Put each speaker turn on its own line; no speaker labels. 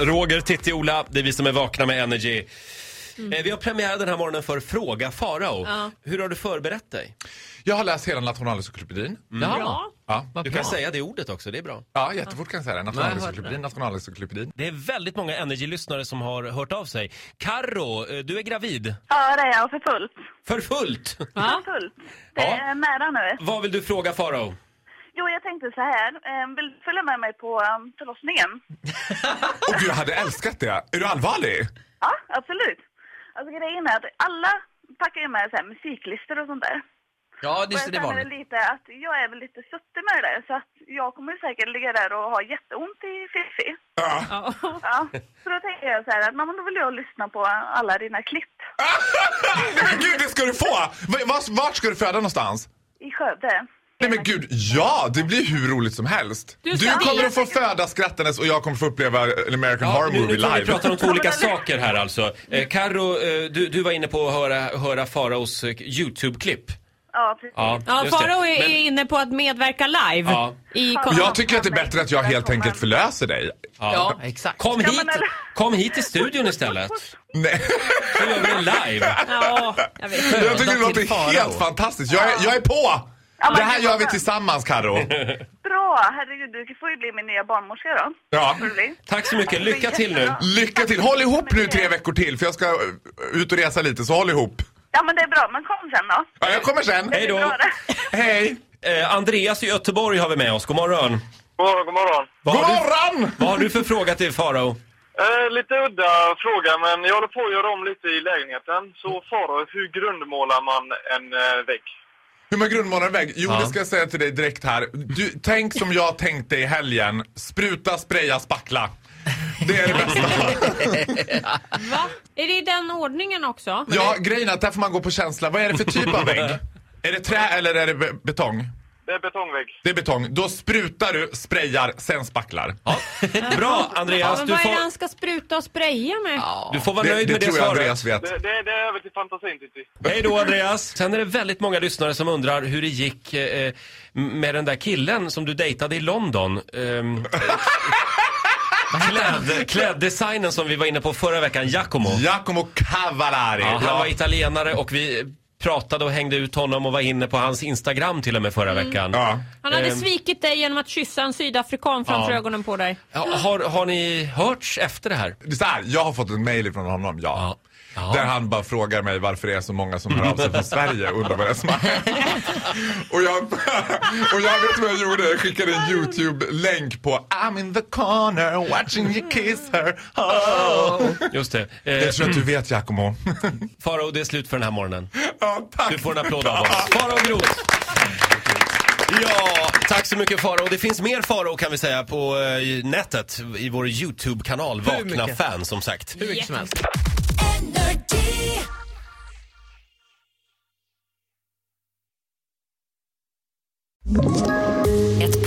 Roger, Titti, Ola, det är vi som är vakna med Energy. Eh, Vi har premiär den här morgonen för Fråga Farao.
Ja.
Hur har du förberett dig?
Jag har läst hela Nationalencyklopedin.
Bra.
Ja,
Vad
Du
bra.
kan säga det ordet också, det är bra.
ja, jättefort kan jag säga det.
Nej, jag
Nationalencyklopedin,
hörde
Nationalencyklopedin.
Det är väldigt många Energy-lyssnare som har hört av sig. Karro, eh, du är gravid.
Ja, det är jag. För fullt.
För fullt!
Va?
För fullt.
Ja.
Det är med där nu.
Vad vill du fråga Farao?
Jo, jag tänkte så här. eh, Vill du följa med mig på eh, förlossningen?
Och du hade älskat det. Är du allvarlig?
Ja, absolut. Alltså grejen är att alla packar ju med så här musiklistor och sånt där.
Ja, det,
Och
så
jag
det var
känner väl
det.
lite att jag är väl lite suttig med det där, så att jag kommer säkert ligga där och ha jätteont i fiffi.
Ja.
Ja. Så då tänker jag så här att mamma, då vill jag lyssna på alla dina klipp
Nej men gud, det ska du få! Va- Vart, vart ska du föda någonstans?
i Skövde.
Nej men gud, ja! Det blir hur roligt som helst.
Du
Du,
ska-
kommer att få föda skrattandes och jag kommer få uppleva en American Horror
nu,
Movie
nu tror jag vi
live.
pratar om två olika saker här alltså. Eh, Karro, eh, du, du var inne på att höra, höra Faraos eh, YouTube-klipp.
Ja, precis.
Ja,
just det.
Farao är
Men-
inne på att medverka live
Ja.
i
Ja.
kon-
Jag tycker att det är bättre att jag helt enkelt förlöser dig.
Ja, exakt.
Kom
Ja,
hit,
men eller-
kom hit till studion istället.
Nej.
Så gör vi det live.
Ja, jag vet.
Jag tycker det
till
låter
Farao.
helt fantastiskt. Jag är, jag är på!
men
Det här
gud,
gör
vad
vi
skönt.
tillsammans, Karo.
Bra! Herregud, du får ju bli min nya barnmorska då.
Ja.
Får du bli.
Tack så mycket, lycka till nu.
Lycka till! Håll ihop nu tre veckor till för jag ska eh, ut och resa lite, så håll ihop.
Ja, men det är bra. Men kom sen då.
Ja, jag kommer sen.
Hej då.
Det är bra det.
Hej!
Eh, Andreas i Göteborg har vi med oss, god morgon.
God morgon, god morgon.
Vad
God
har, du,
morgon!
vad har du för fråga till Farao?
Eh, lite udda fråga, men jag håller på att göra om lite i lägenheten. Så Farao, hur grundmålar man en eh, vägg?
Hur man grundmålar en vägg? Jo,
Ja.
det ska jag säga till dig direkt här. Du, tänk som jag tänkte i helgen. Spruta, spraya, spackla. Det är det bästa.
Va? Är det i den ordningen också?
Ja, grejen är att där får man gå på känsla. Vad är det för typ av vägg? Är det trä eller är det be- betong?
Det är betongvägg.
Det är betong. Då sprutar du, sprayar, sen spacklar.
Bra
Ja,
Andreas,
men
du
vad är det
får,
han ska spruta och spraya med?
du får vara
Det,
nöjd
det
med det
tror jag
svaret.
Andreas vet.
Det, det, det är över till fantasin, Titti.
Hej då Andreas. Sen är det väldigt många lyssnare som undrar hur det gick eh, med den där killen som du dejtade i London. Ehm, kläd, kläddesignen som vi var inne på förra veckan, Giacomo.
Giacomo Cavallari.
Ja, han
Ja.
var italienare och vi pratade och hängde ut honom och var inne på hans Instagram till och med förra
Mm.
veckan.
Ja.
Han hade
Ehm.
svikit dig genom att kyssa en sydafrikan framför
Ja.
ögonen på dig.
Ja, Har, har ni hörts efter det här?
Det är så här, jag har fått ett mejl från honom, ja.
Ja.
Där han bara frågar mig varför det är så många som hör av sig från Sverige och undrar vad det är som har hänt. och, jag, och jag vet vad jag gjorde, jag skickade en YouTube-länk på I'm in the corner watching you kiss her. Oh.
Just det. Eh,
Jag tror att du vet Giacomo.
Farao, det är slut för den här morgonen.
ja, tack.
Du får en applåd av oss. Farao Groth! Ja, tack så mycket Farao. Det finns mer Farao kan vi säga på eh, nätet i vår YouTube-kanal
Hur
Vakna
mycket?
Fan som sagt.
Hur mycket som helst.
Ett